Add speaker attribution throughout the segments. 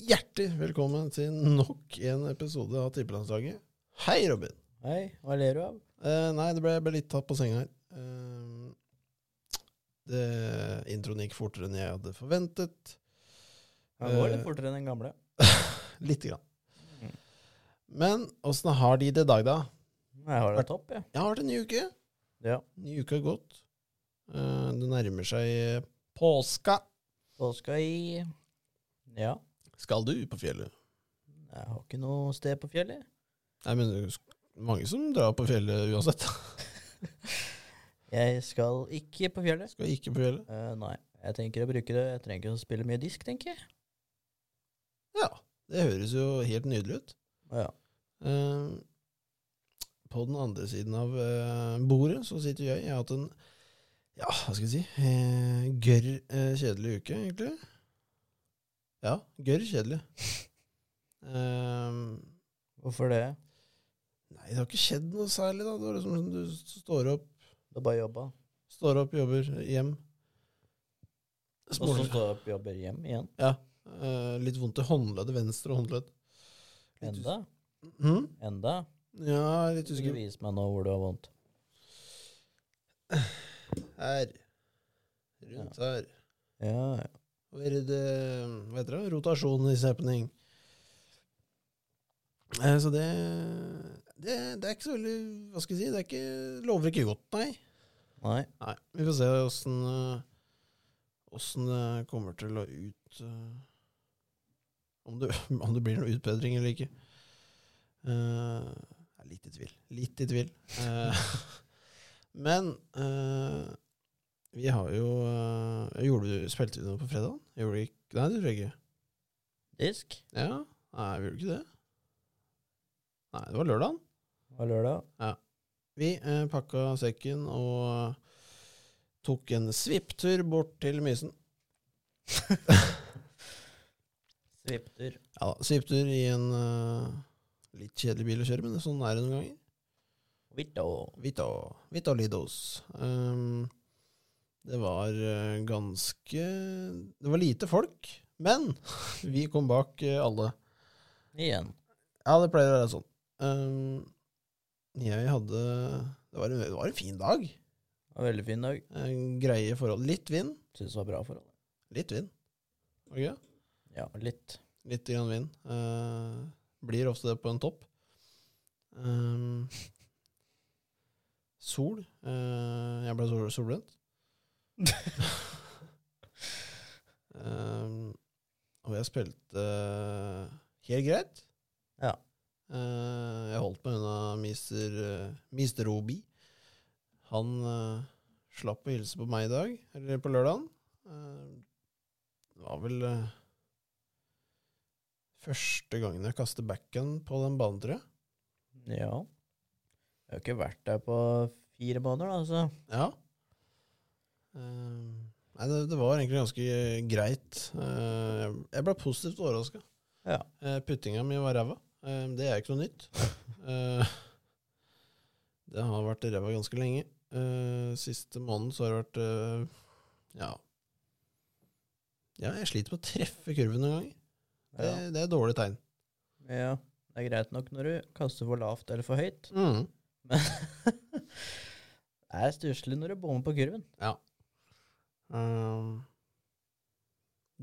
Speaker 1: Hjertelig velkommen til nok en episode av Tippelandslaget. Hei, Robin!
Speaker 2: Hei, hva ler du av?
Speaker 1: Eh, nei, det ble, ble litt tatt på senga her. Eh, det, introen gikk fortere enn jeg hadde forventet.
Speaker 2: Den går litt
Speaker 1: Eh,
Speaker 2: fortere enn den gamle.
Speaker 1: Lite grann.
Speaker 2: Mm.
Speaker 1: Men åssen har de det i dag, da?
Speaker 2: Jeg har det topp, jeg.
Speaker 1: Jeg har vært en ny uke.
Speaker 2: Ja.
Speaker 1: Ny uke har gått. Eh, det nærmer seg påska.
Speaker 2: Så skal jeg Ja.
Speaker 1: Skal du på fjellet?
Speaker 2: Jeg har ikke noe sted på fjellet.
Speaker 1: Nei, men det er jo mange som drar på fjellet uansett.
Speaker 2: Jeg skal ikke på fjellet.
Speaker 1: Skal ikke på fjellet.
Speaker 2: Eh, nei. Jeg tenker å bruke det. Jeg trenger ikke å spille mye disk, tenker jeg.
Speaker 1: Ja, det høres jo helt nydelig ut.
Speaker 2: Ja.
Speaker 1: Eh, på den andre siden av eh, bordet så sitter jeg. Jeg har hatt en ja, hva skal jeg si eh, gørr eh, kjedelig uke, egentlig. Ja, gørr kjedelig. Eh,
Speaker 2: Hvorfor det?
Speaker 1: nei, det har ikke skjedd noe særlig, da. Det var liksom sånn du s- står opp,
Speaker 2: Det er bare jobba.
Speaker 1: står opp, jobber, hjem.
Speaker 2: Og så
Speaker 1: Smålig.
Speaker 2: står jeg opp og jobber hjem igjen.
Speaker 1: Eh, litt vondt i håndleddet, venstre håndledd. Litt
Speaker 2: Enda.
Speaker 1: us- Mhm.
Speaker 2: Enda.
Speaker 1: Ja, litt
Speaker 2: Ikke
Speaker 1: usikker.
Speaker 2: vis meg nå hvor du har vondt.
Speaker 1: Her. Rundt her.
Speaker 2: Ja, ja.
Speaker 1: Hva er det, hva heter det? Rotasjon is happening. Eh, Så det, det Det er ikke så veldig Hva skal jeg si? Det er ikke, lover ikke godt, nei.
Speaker 2: Nei.
Speaker 1: nei. Vi får se åssen eh, åssen det kommer til å ut eh, om det, om det blir noe utbedring eller ikke. Eh, jeg er litt i tvil. Litt i tvil. Eh, men eh, vi har jo eh, gjorde, du- Spilte vi noe på fredag? Gjorde vi ikke? Nei, det tror jeg ikke.
Speaker 2: Disk
Speaker 1: Ja, nei, vi gjorde ikke det. Nei, det var lørdag.
Speaker 2: var lørdag.
Speaker 1: Vi eh, pakka sekken og eh, tok en svipptur bort til Mysen.
Speaker 2: Svipter.
Speaker 1: Ja da, svipptur i en eh, litt kjedelig bil å kjøre, men sånn er det noen ganger.
Speaker 2: Vitto.
Speaker 1: Vita, Vita Lidos. Um, det var eh, ganske Det var lite folk, men vi kom bak eh, alle.
Speaker 2: Igjen.
Speaker 1: Ja, det pleier å være sånn. Um, jeg hadde det var, en, det var en fin dag.
Speaker 2: Det var en veldig fin dag.
Speaker 1: En greie forhold. Litt vind.
Speaker 2: Syns det var bra forhold.
Speaker 1: Litt vind. Var det ikke det?
Speaker 2: Ja, litt.
Speaker 1: Litt grann vind. Eh, blir ofte det på en topp. Ehm, sol. Eh, jeg ble sol solbrent. Ehm, og jeg spilte eh, helt greit.
Speaker 2: Ja.
Speaker 1: Eh, jeg holdt meg unna mister, eh, mister Obi. Han eh, slapp å hilse på meg i dag, eller på lørdagen. Eh, det var vel eh, Første gangen jeg kastet backen på den banen, tror jeg.
Speaker 2: Ja. Jeg har ikke vært der på fire måneder, da, altså. så
Speaker 1: Ja. Eh, nei, det, det var egentlig ganske eh, greit. Eh, jeg- jeg ble positivt overraska.
Speaker 2: Ja.
Speaker 1: puttinga mi var ræva. Eh, det er ikke noe nytt. Eh, det har vært ræva ganske lenge. Eh, siste måneden så har det vært eh, Ja. Ja, jeg sliter med å treffe kurven noen ganger. Det,
Speaker 2: ja.
Speaker 1: det er et dårlig tegn.
Speaker 2: ja. Det er greit nok når du kaster for lavt eller for høyt,
Speaker 1: Mm.
Speaker 2: men det er stusslig når du bommer på kurven.
Speaker 1: Ehm,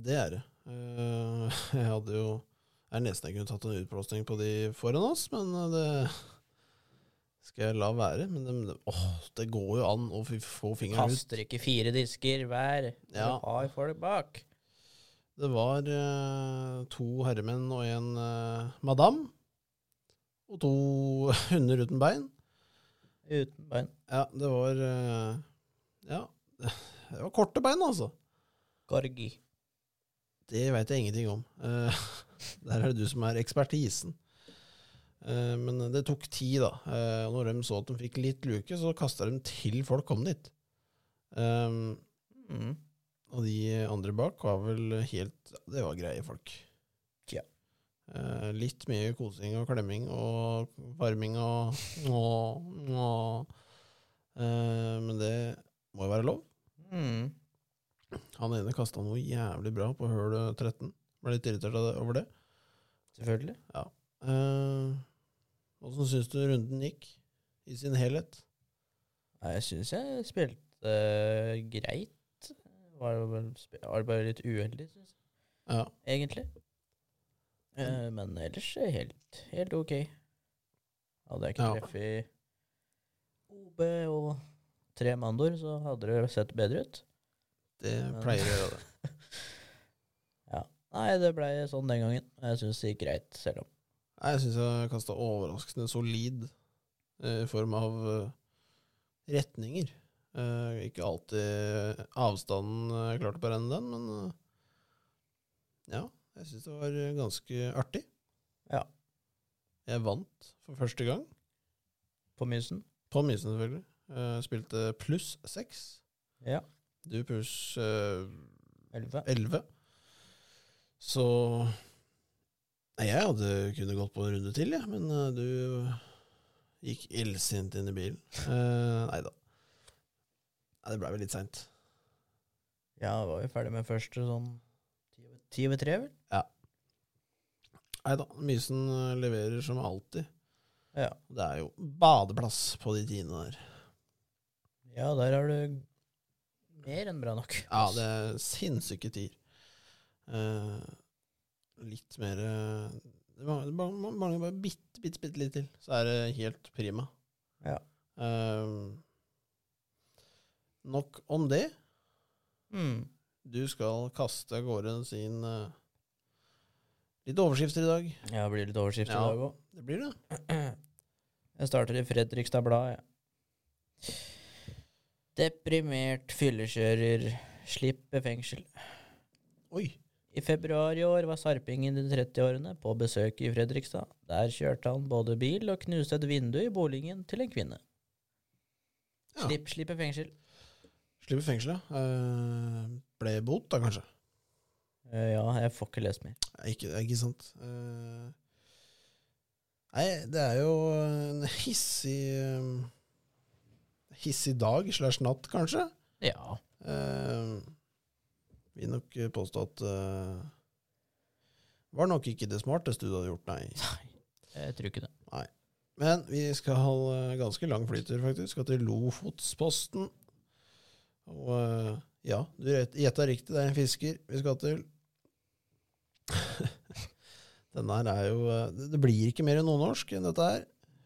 Speaker 1: det er det. Eh, jeg hadde jo Jeg er nesten jeg kunne tatt en utblåsning på de foran oss, men eh, det skal jeg la være. Men det, det, åh, det går jo an å fi- få fingeren ut.
Speaker 2: Kaster ikke fire disker hver. Ja.
Speaker 1: Ja.
Speaker 2: Du har folk bak.
Speaker 1: Det var eh, to herremenn og en eh, madam. Og to hunder uten bein.
Speaker 2: Uten bein.
Speaker 1: Ja, det var eh, Ja, det var korte bein, altså.
Speaker 2: Gorgi.
Speaker 1: Det veit jeg ingenting om. Eh, der er det du som er ekspertisen. Eh, men det tok tid, da. Eh, og når de så at de fikk litt luke, så kasta de til folk kom dit. Eh,
Speaker 2: Mm.
Speaker 1: og de andre bak var vel helt Det var greie folk.
Speaker 2: Tja.
Speaker 1: Eh, litt mye kosing og klemming og varming og, og, og eh, Men det må jo være lov.
Speaker 2: Mm.
Speaker 1: eh, Han ene kasta noe jævlig bra på høl 13. Ble litt irritert av det- over det.
Speaker 2: Selvfølgelig.
Speaker 1: Åssen syns du runden gikk i sin helhet?
Speaker 2: Nei, jeg syns jeg spilte eh, greit. Var, jo vel sp- var bare litt uheldig, syns jeg,
Speaker 1: Ja.
Speaker 2: egentlig. Eh, men ellers eh, helt, helt ok. Hadde jeg ikke
Speaker 1: Ja.
Speaker 2: treffet OB og tre mandoer, så hadde det sett bedre ut.
Speaker 1: Det
Speaker 2: Men-
Speaker 1: pleier å gjøre det.
Speaker 2: Nei, det blei sånn den gangen. Jeg syns det gikk greit, selv om
Speaker 1: Nei, Jeg syns jeg kasta overraskende solid eh, i form av eh, retninger. Eh, ikke alltid avstanden eh, klarte å berenne den, men eh, ja, jeg syns det var eh, ganske artig.
Speaker 2: Ja.
Speaker 1: Jeg vant for første gang,
Speaker 2: På Mysen.
Speaker 1: på Mysen selvfølgelig. Eh, spilte pluss seks.
Speaker 2: Ja.
Speaker 1: Du pluss eh,
Speaker 2: 11.
Speaker 1: 11. Så Nei, jeg hadde kunne gått på en runde til, jeg, men eh, du gikk illsint inn i bilen. Uh, nei da. Nei, det blei vel litt seint.
Speaker 2: Ja, var jo ferdig med første sånn ti over- ti over tre, vel?
Speaker 1: Nei da. Mysen eh, leverer som alltid.
Speaker 2: Ja.
Speaker 1: Det er jo badeplass på de tidene der.
Speaker 2: ja, der har du mer enn bra nok.
Speaker 1: Ja, det er sinnssyke tider. Eh, litt mer eh, Det mang- det mang- mang- mangler bare bitte, bitte, bitte litt til, så er det helt prima.
Speaker 2: Ja.
Speaker 1: Eh, nok om det.
Speaker 2: Mm.
Speaker 1: Du skal kaste av gårde sin eh, Litt overskrifter i dag.
Speaker 2: Ja, det blir litt overskrift
Speaker 1: Ja.
Speaker 2: i dag òg.
Speaker 1: Det blir det.
Speaker 2: Mm. Jeg starter i Fredrikstad Blad, jeg. Deprimert fyllekjører. Slipper fengsel.
Speaker 1: Oi!
Speaker 2: I februar i år var Sarping i de 30-årene på besøk i Fredrikstad. Der kjørte han både bil og knuste et vindu i boligen til en kvinne.
Speaker 1: Ja.
Speaker 2: Slipp, slipper fengsel.
Speaker 1: Slipper fengselet. Eh, ble bot, da, kanskje?
Speaker 2: Eh, ja, jeg får ikke lest mer.
Speaker 1: Nei, Ikke, det er ikke sant. Eh, nei, det er jo en hissig eh, Hissig dag slash natt, kanskje.
Speaker 2: Ja.
Speaker 1: Uh, vil nok påstå at eh, Var nok ikke det smarteste du hadde gjort, nei.
Speaker 2: Nei, jeg tror ikke det.
Speaker 1: Men vi skal eh, ganske lang flytur, faktisk. Skal til Lofotsposten. Og eh, ja, du rett- gjetta riktig, det er en fisker vi skal til. Den her er jo eh, det- Det blir ikke mer nordnorsk enn dette her.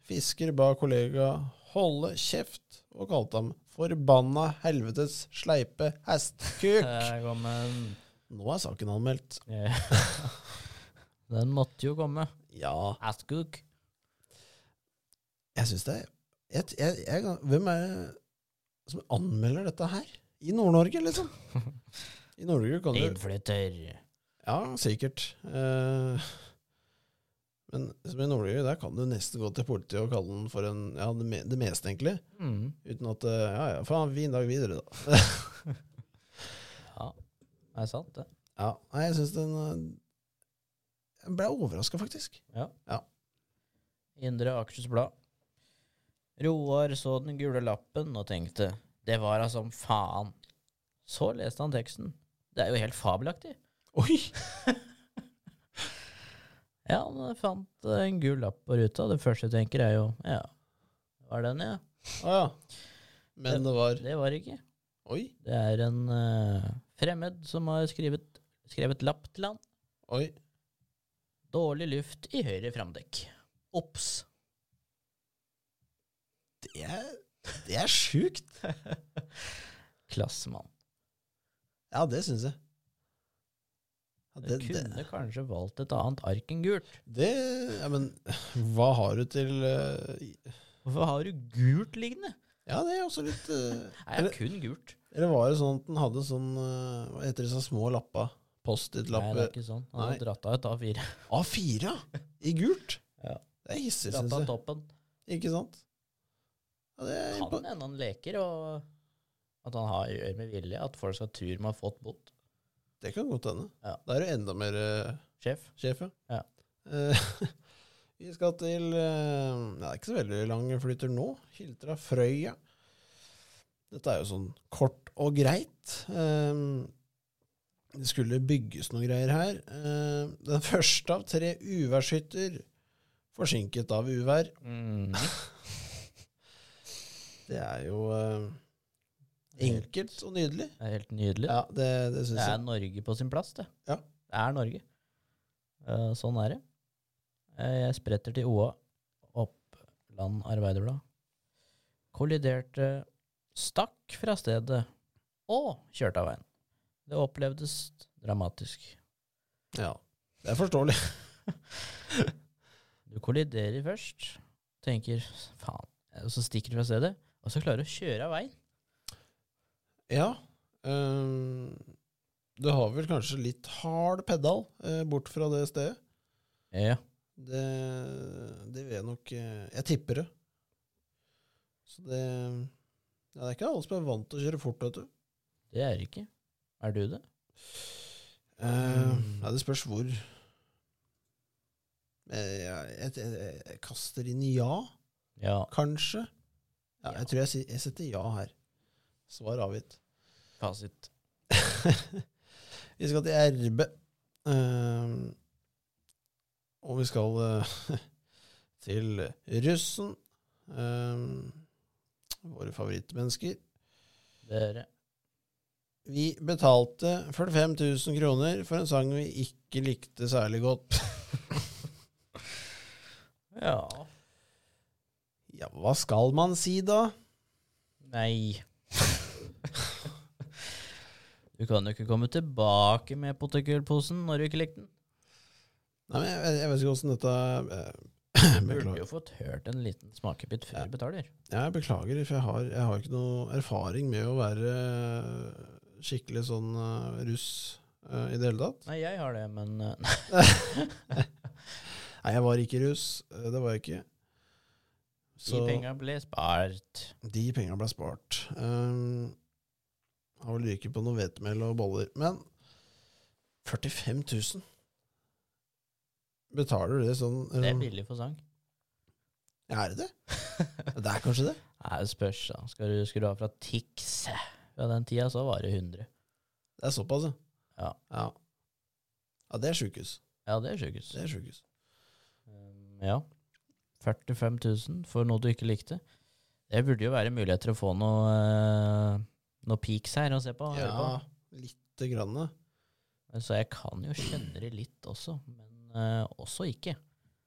Speaker 1: Fisker ba kollega holde kjeft og kalte ham 'forbanna helvetes sleipe hestkuk'.
Speaker 2: Der kom Eh, en
Speaker 1: Nå er saken anmeldt.
Speaker 2: Den måtte jo komme.
Speaker 1: Ja,
Speaker 2: Askuk.
Speaker 1: jeg syns det er jeg, jeg, jeg, Hvem er det som anmelder dette her? I Nord-Norge, liksom? I Nord-Norge kan du
Speaker 2: Innflytter.
Speaker 1: Ja, sikkert. Eh, men som i Nord-Norge, der kan du nesten gå til politiet og kalle den for en Ja, det, me, det meste, egentlig.
Speaker 2: Mm.
Speaker 1: Uten at eh, Ja ja, faen, fin dag videre, da.
Speaker 2: Ja, det er sant, det.
Speaker 1: ja, nei, jeg syns den eh, Jeg ble overraska, faktisk.
Speaker 2: Indre Akershus Blad. Roar så den gule lappen og tenkte det var da som faen. Så leste han teksten. Det er jo helt fabelaktig.
Speaker 1: Oi!
Speaker 2: Ja, han fant eh, en gul lapp på ruta. Det første jeg tenker, er jo ja, det var den, ja.
Speaker 1: Å ja. Men det var
Speaker 2: Det var ikke.
Speaker 1: Oi,
Speaker 2: Det er en eh, fremmed som har skrevet, skrevet lapp til han.
Speaker 1: oi.
Speaker 2: Dårlig luft i høyre framdekk. Ops.
Speaker 1: Det er, det er sjukt.
Speaker 2: Klassemann.
Speaker 1: Ja, det syns jeg. Ja,
Speaker 2: Du
Speaker 1: det, det,
Speaker 2: kunne kanskje valgt et annet ark enn gult.
Speaker 1: det Ja, men hva har du til eh,
Speaker 2: Hvorfor har du gult liggende?
Speaker 1: Ja, det er også litt eh,
Speaker 2: Nei,
Speaker 1: Eller-
Speaker 2: kun gult.
Speaker 1: Eller var det sånn at den hadde sånn eh, Hva heter disse små lappa?
Speaker 2: Nei, det er
Speaker 1: Post-it-lapper?
Speaker 2: ikke sånn. Han har
Speaker 1: Nei.
Speaker 2: dratt av et A4.
Speaker 1: A4 ja, i gult!
Speaker 2: Ja.
Speaker 1: Det er hissig,
Speaker 2: Dratt
Speaker 1: syns
Speaker 2: av
Speaker 1: jeg.
Speaker 2: toppen.
Speaker 1: Ikke sant? Ja, det er
Speaker 2: Kan
Speaker 1: impo-
Speaker 2: hende han leker, og at han har gjør med vilje at folk skal tro de har fått bot.
Speaker 1: det kan godt hende.
Speaker 2: Ja.
Speaker 1: Da er du enda mer eh,
Speaker 2: Sjef.
Speaker 1: sjef,
Speaker 2: Ja.
Speaker 1: Eh, vi skal til eh, Det er ikke så veldig lang flytter nå. Hiltra Frøya. Dette er jo sånn kort og greit. Eh, Det skulle bygges noen greier her. Eh, Den første av tre uværshytter forsinket av uvær.
Speaker 2: Mm.
Speaker 1: Det er jo eh, enkelt og nydelig.
Speaker 2: Det er helt nydelig.
Speaker 1: Ja, det, det syns
Speaker 2: Det er
Speaker 1: jeg.
Speaker 2: Norge på sin plass, det.
Speaker 1: Ja.
Speaker 2: Det er Norge. Eh, sånn er det. Eh, jeg spretter til OA. Oppland Arbeiderblad. Kolliderte stakk fra stedet og kjørte av veien. Det opplevdes dramatisk.
Speaker 1: Ja, det er forståelig.
Speaker 2: Du kolliderer først, tenker faen, og så stikker du fra stedet, og så klarer du å kjøre av veien.
Speaker 1: Ja. eh, du har vel kanskje litt hard pedal eh, bort fra det stedet.
Speaker 2: Ja.
Speaker 1: Det, det vil jeg nok eh, Jeg tipper det. Så det ja, Det er ikke alle som er vant til å kjøre fort, vet du.
Speaker 2: Det er det ikke. Er du det?
Speaker 1: Eh,
Speaker 2: Mm.
Speaker 1: Nei, det spørs hvor. Eh, Jeg, jeg, jeg, jeg kaster inn ja,
Speaker 2: Ja.
Speaker 1: kanskje. Ja,
Speaker 2: Ja.
Speaker 1: jeg tror jeg, sier- jeg setter ja her. Svar avgitt.
Speaker 2: Fasit.
Speaker 1: vi skal til RB. Eh, og vi skal eh, til russen. Eh, våre favorittmennesker.
Speaker 2: Dere.
Speaker 1: Vi betalte 45 000 kroner for en sang vi ikke likte særlig godt.
Speaker 2: Ja.
Speaker 1: Ja, hva skal man si da?
Speaker 2: Nei. du kan jo ikke komme tilbake med potetgullposen når du ikke likte den.
Speaker 1: Nei, men jeg, jeg vet ikke åssen dette eh,
Speaker 2: Du burde
Speaker 1: Beklager.
Speaker 2: jo fått hørt en liten smakebit før
Speaker 1: Ja.
Speaker 2: du betaler.
Speaker 1: Ja, jeg beklager, for jeg har, jeg har ikke noe erfaring med å være eh, skikkelig sånn eh, russ eh, i det hele tatt.
Speaker 2: Nei, jeg har det, men eh,
Speaker 1: Nei, jeg var ikke russ. eh, det var jeg ikke.
Speaker 2: de penga ble spart.
Speaker 1: De penga ble spart. Um, har vel ryket på noe hvetemel og boller. Men 45 000 Betaler du det sånn?
Speaker 2: Det
Speaker 1: eh,
Speaker 2: er billig for sang.
Speaker 1: Er det det? Det er kanskje det?
Speaker 2: Nei, det spørs, da. Skal du, skal du ha fra Tix? Fra den tida så var det 100.
Speaker 1: Det er såpass, ja.
Speaker 2: Ja.
Speaker 1: Ja, ja det er sjukehus.
Speaker 2: Ja, det er sjukehus.
Speaker 1: Det er sjukehus.
Speaker 2: Um, Ja. 45 000 for noe du ikke likte. Det burde jo være muligheter å få noe, eh, noe peaks her å se på. høre på.
Speaker 1: Ja, lite grann. ja.
Speaker 2: Så jeg kan jo skjønne det litt også, men eh, også ikke.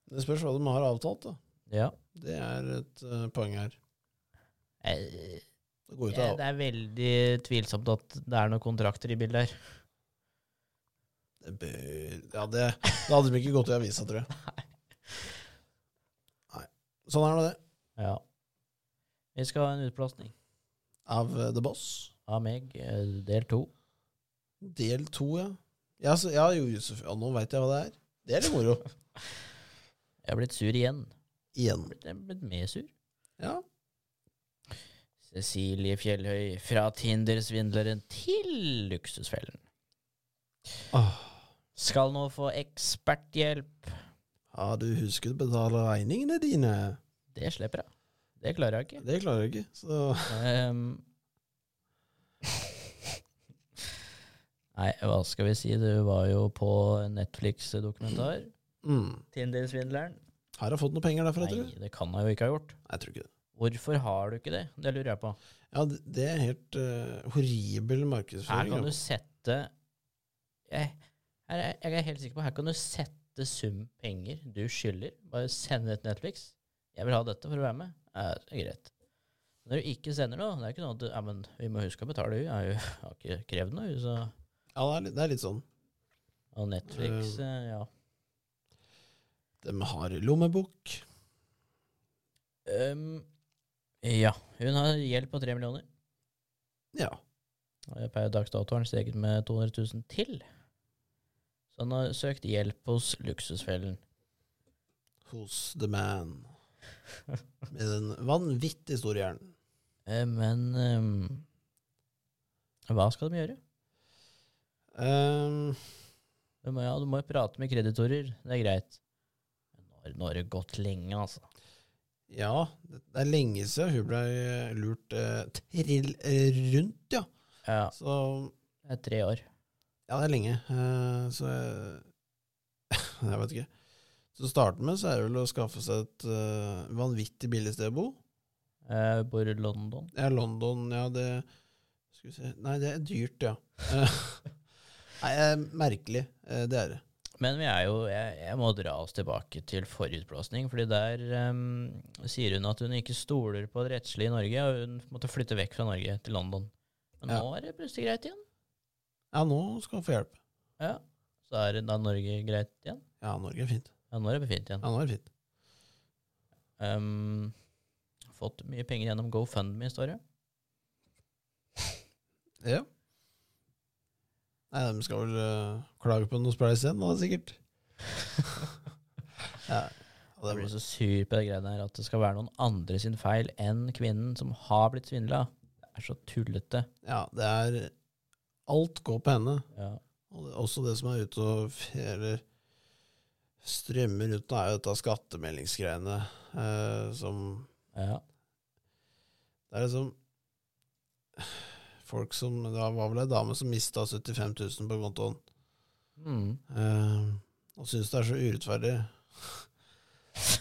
Speaker 1: Det spørs hva de har avtalt, da.
Speaker 2: Ja.
Speaker 1: Det er et eh, poeng her.
Speaker 2: Eh,
Speaker 1: Det går ut
Speaker 2: det,
Speaker 1: av
Speaker 2: det er veldig tvilsomt at det er noen kontrakter i bildet her.
Speaker 1: det bør, Ja, det, det hadde de ikke gått i avisa, tror jeg. Nei. Sånn er nå det.
Speaker 2: Ja. Vi skal ha en utblåsning
Speaker 1: Av eh, The Boss.
Speaker 2: av meg, eh, del to.
Speaker 1: Del to, ja. Ja, så, ja jo, Josef, ja, nå veit jeg hva det er. Det er litt moro.
Speaker 2: Jeg er blitt sur igjen.
Speaker 1: Igjen.
Speaker 2: Blitt- Jeg er blitt mer sur.
Speaker 1: Ja.
Speaker 2: Cecilie Fjellhøy, fra Tinder-svindleren til luksusfellen.
Speaker 1: Ah,
Speaker 2: Skal nå få eksperthjelp.
Speaker 1: har du husket å betale regningene dine?
Speaker 2: Det slipper jeg. Det klarer jeg ikke.
Speaker 1: Det klarer jeg ikke, så
Speaker 2: Ehm. Nei, hva skal vi si? Du var jo på en Netflix-dokumentar.
Speaker 1: mm.
Speaker 2: Tinder-svindleren.
Speaker 1: Har jeg fått noe penger derfra,
Speaker 2: Nei,
Speaker 1: tror du? Nei,
Speaker 2: det kan han jo ikke ha gjort.
Speaker 1: jeg tror ikke det.
Speaker 2: Hvorfor har du ikke det? Det lurer jeg på.
Speaker 1: Ja, det det er helt eh, horribel
Speaker 2: Her
Speaker 1: markedsføring.
Speaker 2: kan
Speaker 1: ja.
Speaker 2: du sette jeg, her er, jeg er helt sikker på Her kan du sette sum penger du skylder. Bare sende det til Netflix. 'Jeg vil ha dette for å være med.' Ja, det er greit. Når du ikke sender noe, det er ikke noe at du, ja, men 'Vi må huske å betale, hun har jo har ikke krevd noe', hun, så
Speaker 1: Ja, det er, litt- det er litt sånn.
Speaker 2: Og Netflix, eh, ja.
Speaker 1: De har lommebok.
Speaker 2: Ehm, ja, hun har gjeld på 3 millioner.
Speaker 1: Ja.
Speaker 2: Og Per dags dato har den steget med 200 000 til. Så han har søkt hjelp hos Luksusfellen.
Speaker 1: Hos The Man. Med en vanvittig stor hjernen.
Speaker 2: Eh, men ehm, hva skal de gjøre?
Speaker 1: Ehm,
Speaker 2: Du må, ja, du må jo prate med kreditorer, det er greit. Men nå har- nå har det gått lenge, altså.
Speaker 1: ja, det det er lenge siden hun ble eh, lurt eh, trill eh, rundt, ja.
Speaker 2: Ja,
Speaker 1: Så
Speaker 2: det er tre år.
Speaker 1: Ja, det er lenge. eh, Så jeg, jeg vet ikke. Til å starte med så er det vel å skaffe seg et eh, vanvittig billig sted å bo.
Speaker 2: Eh, bor i London.
Speaker 1: Ja, London, ja, det Skal vi se Nei, det er dyrt, ja. Eh, Nei, eh, merkelig. eh, Det er det.
Speaker 2: Men vi er jo, jeg, jeg må dra oss tilbake til forutblåsning, fordi der ehm, sier hun at hun ikke stoler på det rettslige i Norge, og hun måtte flytte vekk fra Norge til London. Men
Speaker 1: Ja.
Speaker 2: nå er det plutselig greit igjen.
Speaker 1: Ja, nå skal han få hjelp.
Speaker 2: Ja. Så er det da Norge greit igjen.
Speaker 1: Ja, Norge er fint.
Speaker 2: Ja, nå er det fint igjen.
Speaker 1: Ja, nå er det fint.
Speaker 2: Ehm, fått mye penger gjennom GoFundMe, står det.
Speaker 1: Ja. Nei, de skal vel eh, klage på noe spleis igjen, da, sikkert. ja. Og
Speaker 2: Jeg
Speaker 1: det
Speaker 2: blir
Speaker 1: er
Speaker 2: så sur på det greiene her at det skal være noen andre sin feil enn kvinnen som har blitt svindla. Det er så tullete.
Speaker 1: Ja, det er Alt går på henne.
Speaker 2: Ja.
Speaker 1: Og det, også det som er ute og f- eller strømmer ut, nå, er jo dette skattemeldingsgreiene eh, som
Speaker 2: ja.
Speaker 1: Det er liksom Folk som Det var vel ei dame som mista 75 000 på kontoen.
Speaker 2: Mm.
Speaker 1: Eh, og syns det er så urettferdig.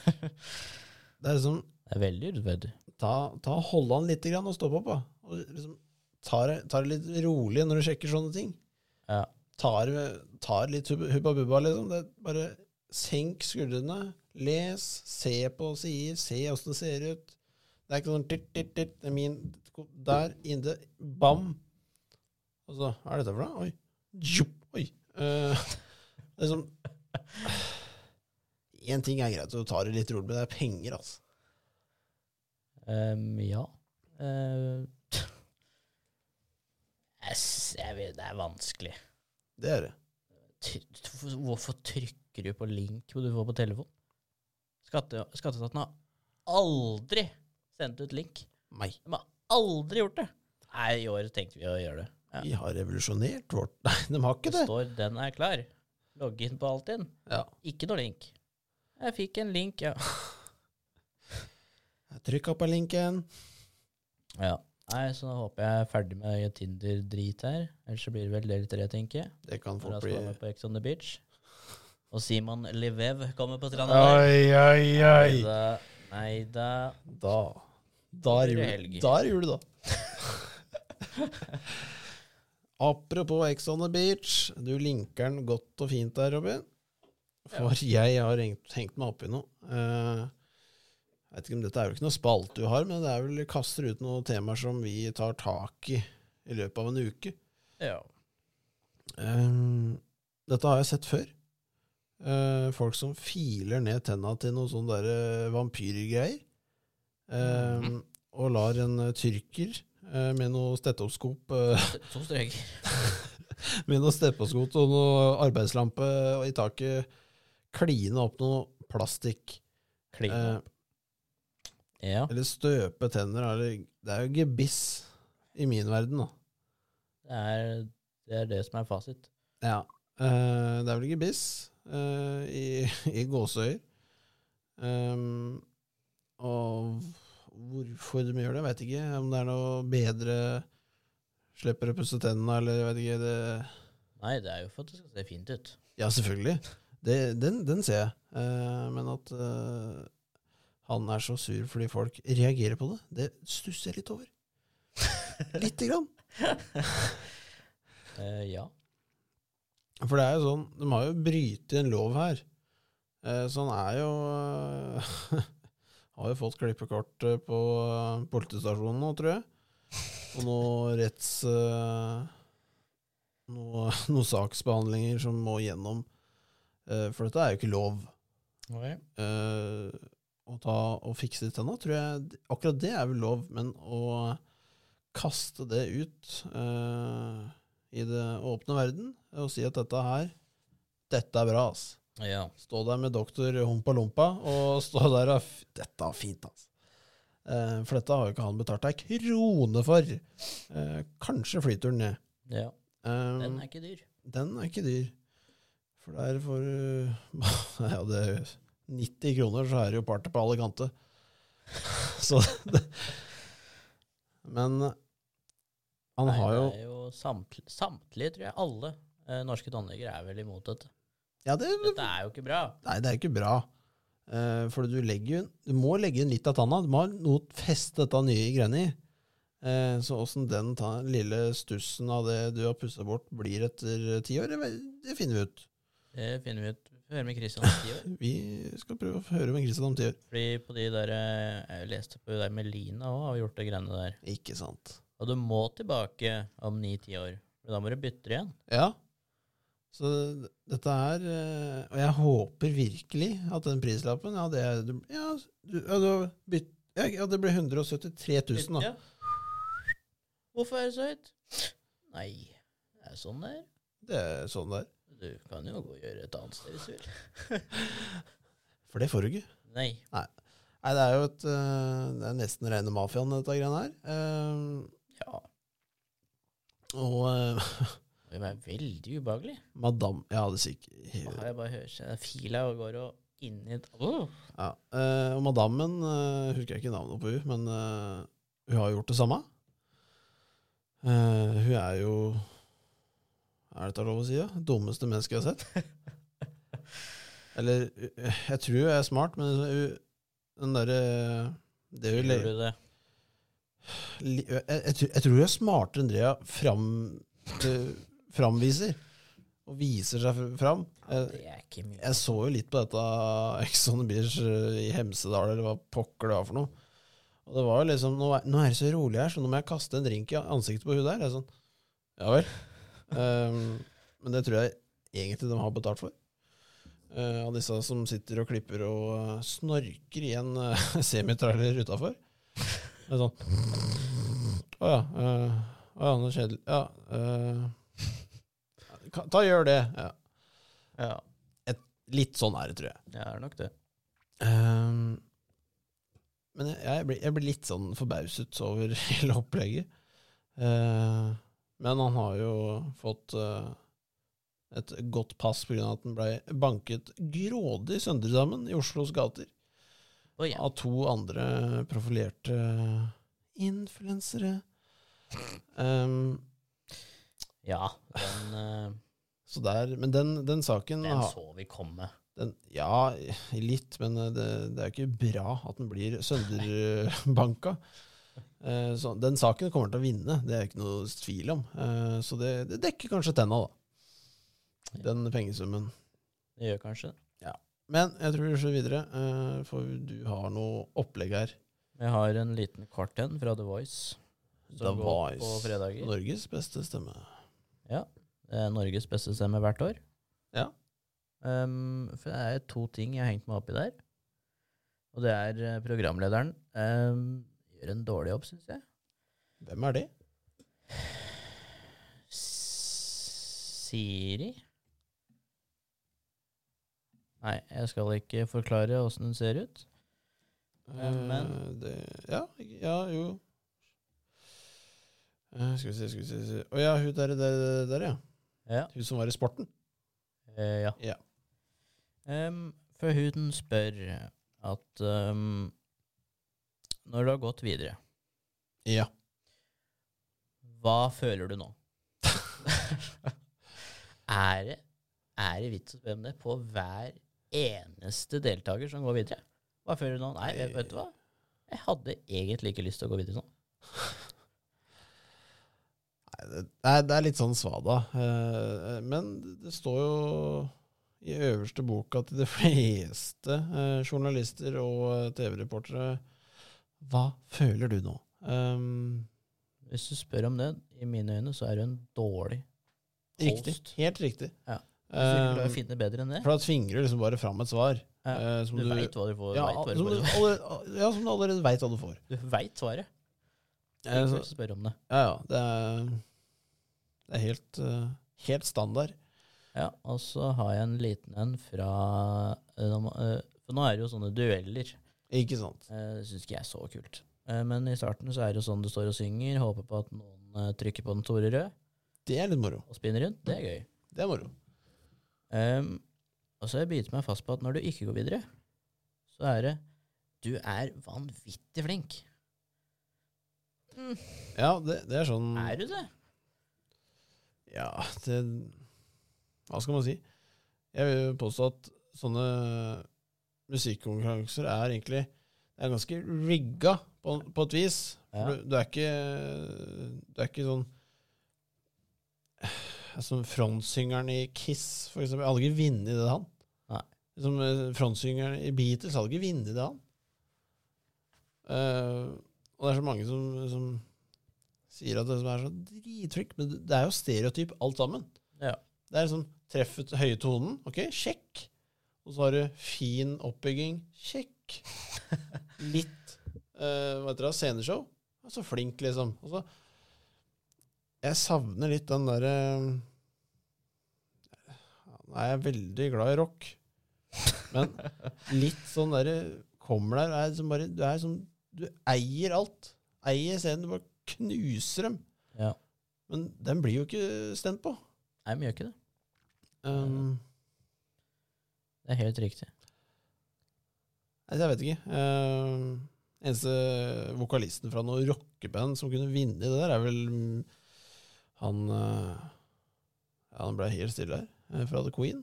Speaker 1: Det er liksom
Speaker 2: Det er veldig urettferdig.
Speaker 1: Ta, ta Hold an lite grann og stopp opp, da. Og liksom, ta, det, ta det litt rolig når du sjekker sånne ting.
Speaker 2: Ja.
Speaker 1: Tar, tar litt hub- hubba bubba, liksom. Det, er bare senk skuldrene. Les. Se på sider. Se åssen det ser ut. Det er ikke sånn titt, titt, titt, det er min, Der inne. Bam. Og så Hva er dette for noe? Oi. Jupp, oi. Eh, det er sånn Én ting er greit, du tar det litt rolig, men det er penger, altså.
Speaker 2: Ehm, ja. Ehm, jeg, s- jeg vet, det er vanskelig.
Speaker 1: Det er det.
Speaker 2: Ty- Hvorfor trykker du på link du får på telefon? Skatte, skatteetaten har aldri sendt ut link.
Speaker 1: Nei.
Speaker 2: De har aldri gjort det. Nei, i år tenkte vi å gjøre det. Ja.
Speaker 1: Vi har revolusjonert vårt Nei, de har ikke
Speaker 2: Det
Speaker 1: det.
Speaker 2: står 'den er klar'. Logg inn på Altinn.
Speaker 1: Ja.
Speaker 2: Ikke noe link. Jeg fikk en link, ja.
Speaker 1: Trykk opp av linken.
Speaker 2: ja. Nei, så nå håper jeg er ferdig med Tinder-drit her. Ellers så blir det vel del tre, tenker jeg.
Speaker 1: Det kan
Speaker 2: Når
Speaker 1: fort
Speaker 2: han
Speaker 1: bli
Speaker 2: skal være med på Ex on the Beach. Og Simon Levev kommer på stranda der.
Speaker 1: Oi, oi,
Speaker 2: Nei
Speaker 1: oi.
Speaker 2: da. Nei da.
Speaker 1: Da Da er
Speaker 2: blir det
Speaker 1: jul,
Speaker 2: helg.
Speaker 1: da. Er jul, da. Apropos Ex on the Beach. Du linker den godt og fint der, Robin. For jeg har hengt, hengt meg opp i noe. Eh, jeg vet ikke om Dette er jo ikke noe spalte du har, men det er vel kaster ut noen temaer som vi tar tak i i løpet av en uke.
Speaker 2: Ja.
Speaker 1: Ehm, dette har jeg sett før. Eh, folk som filer ned tenna til noen sånne der eh, vampyrgreier. Ehm, Og lar en eh, tyrker eh, med noe stetoskop eh,
Speaker 2: To strøker.
Speaker 1: Med noe stetoskop og noe arbeidslampe i taket kline opp noe plastikk.
Speaker 2: Klin.
Speaker 1: Eh,
Speaker 2: Ja.
Speaker 1: eller støpe tenner. Eller, det er jo gebiss i min verden, da.
Speaker 2: Det er, det er det som er fasit.
Speaker 1: Ja. eh, det er vel gebiss uh, i, i gåseøyer. Ehm, og hvorfor de gjør det, veit ikke. Om det er noe bedre Slipper å pusse tennene, eller jeg vet ikke. Det.
Speaker 2: Nei, det er jo for at det skal se fint ut.
Speaker 1: Ja, selvfølgelig. Det, den, den ser jeg. Eh, men at eh, han er så sur fordi folk reagerer på det, det stusser jeg litt over. Lite grann.
Speaker 2: Eh, ja.
Speaker 1: For det er jo sånn, de har jo brytet en lov her. Eh, Så han er jo eh, Har jo fått klippekort eh, på eh, politistasjonen nå, tror jeg. Og noe retts... eh, Noe, noen saksbehandlinger som må gjennom. Eh, For dette er jo ikke lov. Eh, Å ta og fikse de tenna, tror jeg Akkurat det er vel lov, men å kaste det ut eh, i det åpne verden og si at dette her Dette er bra, ass.
Speaker 2: Ja.
Speaker 1: Stå der med doktor Humpa Lumpa og stå der og f- Dette er fint, ass. Eh, for dette har jo ikke han betalt ei krone for. Eh, kanskje flyturen ned.
Speaker 2: ja.
Speaker 1: Eh,
Speaker 2: Den er ikke dyr.
Speaker 1: den er ikke dyr. For der får du Ja, det er jo 90 kroner, så er det jo party på alle kanter. Så det eh, Men han
Speaker 2: Nei,
Speaker 1: har jo
Speaker 2: Det er jo samtlige, samtlige tror jeg, alle Eh, norske tannleger er vel imot dette.
Speaker 1: Ja, det,
Speaker 2: Dette er jo ikke bra.
Speaker 1: nei, det er ikke bra. Eh, for du, legger, jo- du må legge inn litt av tanna. Du må ha noe å feste dette nye greiene i. Eh, så åssen den ta, lille stussen av det du har pussa bort, blir etter ti år, det vet- det finner vi ut.
Speaker 2: Det finner vi ut Hører med Kristian om ti år.
Speaker 1: Vi skal prøve å høre med Kristian om ti år.
Speaker 2: Fordi på de der eh, Jeg leste på det der med Lina òg, har gjort det greiene der.
Speaker 1: Ikke sant.
Speaker 2: Og du må tilbake om ni-ti år. For da må du bytte det igjen.
Speaker 1: Ja. Så det- dette er eh, Og jeg håper virkelig at den prislappen Ja, det, er- du- ja, du, ja, du har bytt, ja, ja, det ble 173 000, da.
Speaker 2: Ja. Hvorfor er det så høyt? Nei, det er sånn det er.
Speaker 1: Det er sånn det er.
Speaker 2: Du kan jo gå og gjøre et annet sted hvis du vil.
Speaker 1: For det får du ikke.
Speaker 2: Nei.
Speaker 1: Nei, det er jo et eh, Det er nesten rene mafiaen, dette greiene her. Eh,
Speaker 2: Ja.
Speaker 1: og eh,
Speaker 2: Det var veldig ubehagelig.
Speaker 1: madame Ja, det sikkert
Speaker 2: Da har jeg bare hørt seg fila og går og inn i et Åh.
Speaker 1: ja. eh, Og madammen eh, Husker jeg ikke navnet på hun men eh, hun har gjort det samme. Eh, hun er jo Er dette lov å si? Ja? Dummeste mennesket jeg har sett. Eller eh, Jeg tror hun er smart, men hun, den derre Det hun
Speaker 2: Gjorde
Speaker 1: legger
Speaker 2: du det?
Speaker 1: li- jeg, jeg, tror- jeg tror jeg er smartere enn det jeg fram, eh, framviser. Og viser seg fr- fram. Eh,
Speaker 2: Ja,
Speaker 1: Jeg,
Speaker 2: det er ikke mye.
Speaker 1: jeg så jo litt på dette Ex on the Beach eh, i Hemsedal, eller hva pokker det var for noe. Og det var jo liksom Nå er, nå er det så rolig her, så nå må jeg kaste en drink i ansiktet på hun der. Jeg er sånn, ja vel. Ehm, men det tror jeg egentlig de har betalt for. Eh, av disse som sitter og klipper og eh, snorker i en eh, semitrailer utafor. Det er sånn Å ja. eh, Å ja, noe kjedelig. Ja. eh, ka- ta gjør det. Ja.
Speaker 2: Ja,
Speaker 1: Litt sånn er det, tror jeg.
Speaker 2: det er nok det.
Speaker 1: Ehm, men jeg, jeg, blir, jeg blir litt sånn forbauset over hele opplegget. Eh, men han har jo fått eh, et godt pass pga. at han blei banket grådig sønder sammen i Oslos gater
Speaker 2: Å ja.
Speaker 1: av to andre profilerte eh, influensere. Ehm,
Speaker 2: ja den, eh,
Speaker 1: så der, men den, den saken
Speaker 2: den
Speaker 1: har-
Speaker 2: så vi komme.
Speaker 1: den, ja, litt, men eh, det, det er jo ikke bra at den blir sønderbanka. Eh, Så den saken kommer til å vinne, det er ikke noe tvil om. Eh, Så det, det dekker kanskje tenna, da. Den pengesummen.
Speaker 2: Det gjør kanskje det.
Speaker 1: Men jeg tror vi ser videre, eh, for du har noe opplegg her.
Speaker 2: Jeg har en liten kvart en fra The Voice. Som
Speaker 1: The
Speaker 2: går på
Speaker 1: Voice.
Speaker 2: fredager.
Speaker 1: Norges beste stemme.
Speaker 2: Det er Norges beste stemme hvert år.
Speaker 1: Ja.
Speaker 2: Ehm, for det er to ting jeg har hengt meg opp i der. Og det er eh, programlederen ehm, gjør en dårlig jobb, syns jeg.
Speaker 1: Hvem er det?
Speaker 2: Siri Nei, jeg skal ikke forklare åssen hun ser ut.
Speaker 1: Eh,
Speaker 2: Men-
Speaker 1: det, ja, ikke- ja, jo. Eh, Skal vi se, skal vi se. skal vi se. Å ja, hun der, der, der, ja.
Speaker 2: Ja.
Speaker 1: Hun som var i Sporten.
Speaker 2: Eh, ja.
Speaker 1: Ja.
Speaker 2: Ehm, for hun spør at ehm, Når du har gått videre,
Speaker 1: Ja.
Speaker 2: hva føler du nå? er, det, er det vits å spørre om det på hver eneste deltaker som går videre? Hva føler du nå? Nei, vet, vet du hva? Jeg hadde egentlig ikke lyst til å gå videre nå.
Speaker 1: Nei, det, nei, det er litt sånn svada. eh, Men det står jo i øverste boka til de fleste eh, journalister og eh, TV-reportere Hva føler du nå? Um,
Speaker 2: Hvis du spør om det, i mine øyne, så er du en dårlig Post.
Speaker 1: riktig. Helt riktig.
Speaker 2: Ja. Hvis du ikke klarer å
Speaker 1: Um,
Speaker 2: finne bedre enn det,
Speaker 1: for da tvinger du liksom bare fram et svar.
Speaker 2: Ja,
Speaker 1: eh, som
Speaker 2: du
Speaker 1: du,
Speaker 2: veit hva du får.
Speaker 1: ja, altså,
Speaker 2: vet hva du
Speaker 1: som du
Speaker 2: får.
Speaker 1: allerede, ja, som du allerede veit hva du får.
Speaker 2: Du veit svaret.
Speaker 1: Eh,
Speaker 2: Ikke
Speaker 1: så-
Speaker 2: lyst til å spørre om det.
Speaker 1: Ja, ja. Det er, det er helt, eh, helt standard.
Speaker 2: Ja, og så har jeg en liten en fra eh, nå må- eh, For nå er det jo sånne dueller.
Speaker 1: Ikke sant?
Speaker 2: Eh, Det syns ikke jeg er så kult. Eh, Men i starten så er det jo sånn du står og synger, håper på at noen eh, trykker på den store røde
Speaker 1: Det er litt moro.
Speaker 2: og spinner rundt. Det er gøy.
Speaker 1: Det er moro.
Speaker 2: Ehm, og så har jeg bitt meg fast på at når du ikke går videre, så er det Du er vanvittig flink. Mm.
Speaker 1: Ja, det, det er sånn
Speaker 2: Er du det?
Speaker 1: Ja, det Hva skal man si? Jeg vil jo påstå at sånne musikkonkurranser er egentlig Det er ganske rigga på, på et vis.
Speaker 2: Ja.
Speaker 1: For Du, du er ikke Du er ikke sånn Som frontsyngeren i Kiss, for eksempel. Hadde ikke vunnet det, han.
Speaker 2: Nei.
Speaker 1: Som eh, frontsyngeren i Beatles hadde ikke vunnet det, han. Eh, og det er så mange som, som sier at det som er så dritfrykk, men det det er jo stereotyp alt sammen.
Speaker 2: Ja.
Speaker 1: Det er liksom treffet høye tonen, ok, sjekk. Og så har du fin oppbygging, sjekk. Litt, eh, hva heter det, sceneshow. Ja, Så flink, liksom. Og så, jeg savner litt den derre Nå er jeg veldig glad i rock, men litt sånn derre Kommer der, er liksom bare Du er som Du eier alt. Eier scenen. Du bare knuser dem.
Speaker 2: Ja.
Speaker 1: Men den blir jo ikke stemt på.
Speaker 2: Nei, men gjør ikke det.
Speaker 1: Um,
Speaker 2: Det er helt riktig.
Speaker 1: Nei, jeg vet ikke. Eh, eneste vokalisten fra noe rockeband som kunne vinne det der, er vel mm, han eh, Ja, han ble helt stille her. eh, fra The Queen.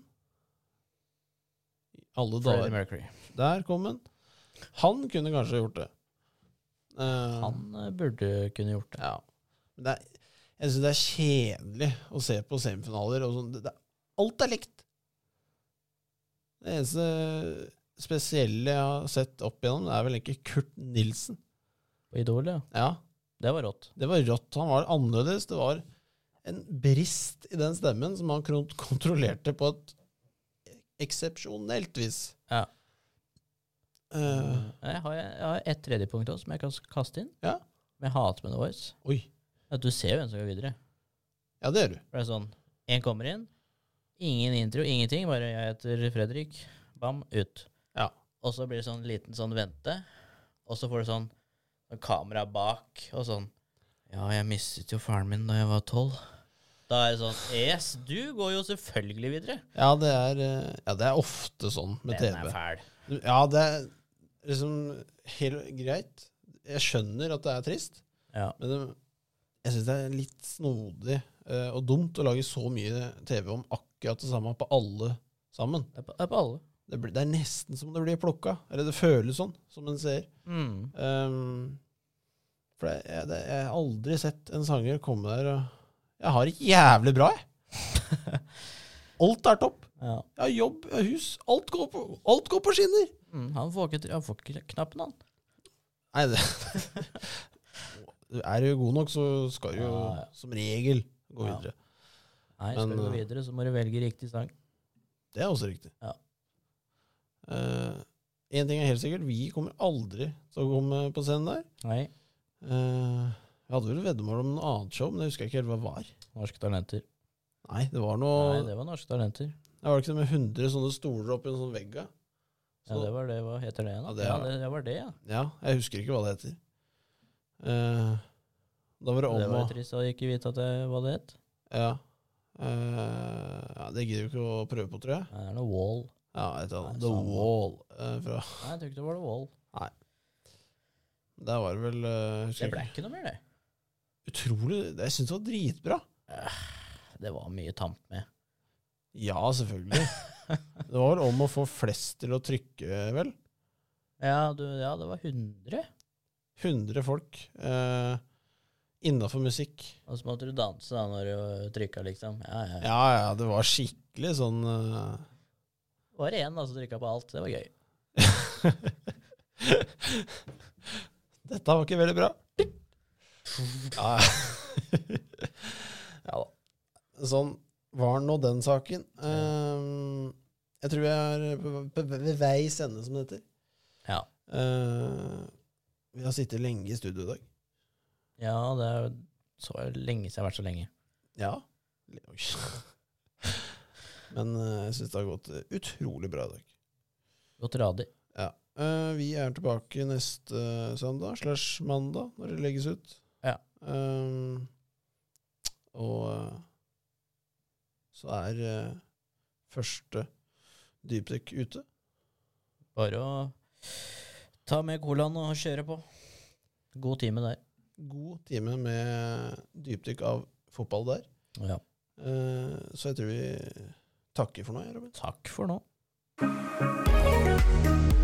Speaker 1: I Alle
Speaker 2: Freddie
Speaker 1: dager.
Speaker 2: Mercury.
Speaker 1: Der kom han. Han kunne kanskje gjort det. Eh,
Speaker 2: Han eh, burde kunne gjort det.
Speaker 1: Ja. Men det er, jeg syns det er kjedelig å se på semifinaler. Og sånn. det, det, alt er likt. Det eneste spesielle jeg har sett opp igjennom, er vel egentlig Kurt Nilsen.
Speaker 2: På Idol, ja.
Speaker 1: Ja,
Speaker 2: Det var rått.
Speaker 1: Det var rått. Han var annerledes. Det var en brist i den stemmen som han kron- kontrollerte på et eksepsjonelt vis.
Speaker 2: Ja.
Speaker 1: Eh,
Speaker 2: Jeg har, jeg har et tredje punkt også, som jeg kan s- kaste inn.
Speaker 1: Ja.
Speaker 2: Som jeg hater med The Voice.
Speaker 1: oi.
Speaker 2: At du ser jo hvem som går videre.
Speaker 1: Ja, det gjør du.
Speaker 2: For det er sånn, en kommer inn, ingen intro, ingenting, bare jeg heter Fredrik, bam, ut.
Speaker 1: Ja.
Speaker 2: Og så blir det sånn liten sånn vente, og så får du sånn sånn kamera bak, og sånn, ja, jeg mistet jo faren min da jeg var tolv. Da er det sånn, yes, du går jo selvfølgelig videre.
Speaker 1: Ja, det er, eh, ja, det er ofte sånn med
Speaker 2: Den
Speaker 1: TV.
Speaker 2: er fæl.
Speaker 1: Ja, det er liksom helt greit. Jeg skjønner at det er trist,
Speaker 2: Ja.
Speaker 1: men det, jeg syns det er litt snodig eh, og dumt å lage så mye TV om akkurat det samme på alle sammen.
Speaker 2: Det er på, det er på alle.
Speaker 1: Det, blir- det er nesten som det blir plukka, eller det føles sånn, som en ser.
Speaker 2: Mm.
Speaker 1: Um, for det, jeg, det, jeg har aldri sett en sanger komme der og Jeg har det jævlig bra, jeg! Alt er topp.
Speaker 2: Ja.
Speaker 1: Jeg har jobb, jeg har hus. Alt går på, alt går på skinner!
Speaker 2: Mm, han får ikke, han får ikke knappen han.
Speaker 1: Nei, det Er du god nok, så skal du jo
Speaker 2: Ja, ja.
Speaker 1: som regel gå
Speaker 2: Ja.
Speaker 1: videre.
Speaker 2: Nei, skal
Speaker 1: Men,
Speaker 2: du gå
Speaker 1: eh,
Speaker 2: videre, så må du velge riktig sang.
Speaker 1: Det er også riktig.
Speaker 2: Ja.
Speaker 1: Én ting er helt sikkert, vi kommer aldri til å komme på scenen der.
Speaker 2: Nei,
Speaker 1: Eh, jeg hadde vel et veddemål om noe annet show, men jeg husker ikke helt hva det var.
Speaker 2: norske talenter.
Speaker 1: Nei, det var noe
Speaker 2: Nei,
Speaker 1: det...
Speaker 2: det var norske talenter.
Speaker 1: var det ikke det med 100 sånne stoler oppi en sånn vegg. ja.
Speaker 2: Ja,
Speaker 1: Så-
Speaker 2: det var det. Hva heter det igjen?
Speaker 1: Ja,
Speaker 2: da?
Speaker 1: det
Speaker 2: Ja,
Speaker 1: er-
Speaker 2: det, det var det, ja.
Speaker 1: Ja, jeg husker ikke hva det heter. Eh, da var det
Speaker 2: Det
Speaker 1: om
Speaker 2: var
Speaker 1: å
Speaker 2: jo trist å ikke vite at det, hva det het.
Speaker 1: ja. Eh, ja, det gidder vi ikke å prøve på, tror jeg.
Speaker 2: Nei, det er noe Wall.
Speaker 1: Ja, et eller
Speaker 2: Nei,
Speaker 1: annet. The
Speaker 2: samme.
Speaker 1: Wall. eh, fra
Speaker 2: Nei, jeg tror ikke det var noe Wall.
Speaker 1: Der var det vel eh, husker
Speaker 2: Det
Speaker 1: jeg
Speaker 2: ble
Speaker 1: ikke.
Speaker 2: ikke noe mer, det.
Speaker 1: Utrolig det- Jeg syns det var dritbra.
Speaker 2: Det var mye tamt med.
Speaker 1: Ja, selvfølgelig. det var vel om å få flest til å trykke, vel.
Speaker 2: Ja, du, ja det var 100.
Speaker 1: 100 folk eh, innafor musikk.
Speaker 2: Og så måtte du danse da når du trykka, liksom. Ja, ja.
Speaker 1: Ja, ja, det var skikkelig sånn eh,
Speaker 2: Det var én da som trykka på alt. Det var gøy.
Speaker 1: Dette var ikke veldig bra. Ja, ja da. Sånn var nå den saken. Ehm, jeg tror vi er på- på- ved veis ende, som det heter.
Speaker 2: Ja.
Speaker 1: Eh, vi har sittet lenge i studio i dag.
Speaker 2: Ja, det er jo så lenge siden jeg har vært så lenge.
Speaker 1: Ja. Oi. Men eh, jeg syns det har gått eh, utrolig bra i dag.
Speaker 2: Gått radig.
Speaker 1: Ja. Eh, vi er tilbake neste eh, søndag slash mandag, når det legges ut.
Speaker 2: Ja.
Speaker 1: Ehm, og eh, så er eh, første dypdekk ute.
Speaker 2: Bare å ta med colaen og kjøre på. God time der.
Speaker 1: God time med dypdykk av fotball der.
Speaker 2: Ja.
Speaker 1: Eh, så jeg tror vi takke for nå, jeg, Robin.
Speaker 2: Takk for nå.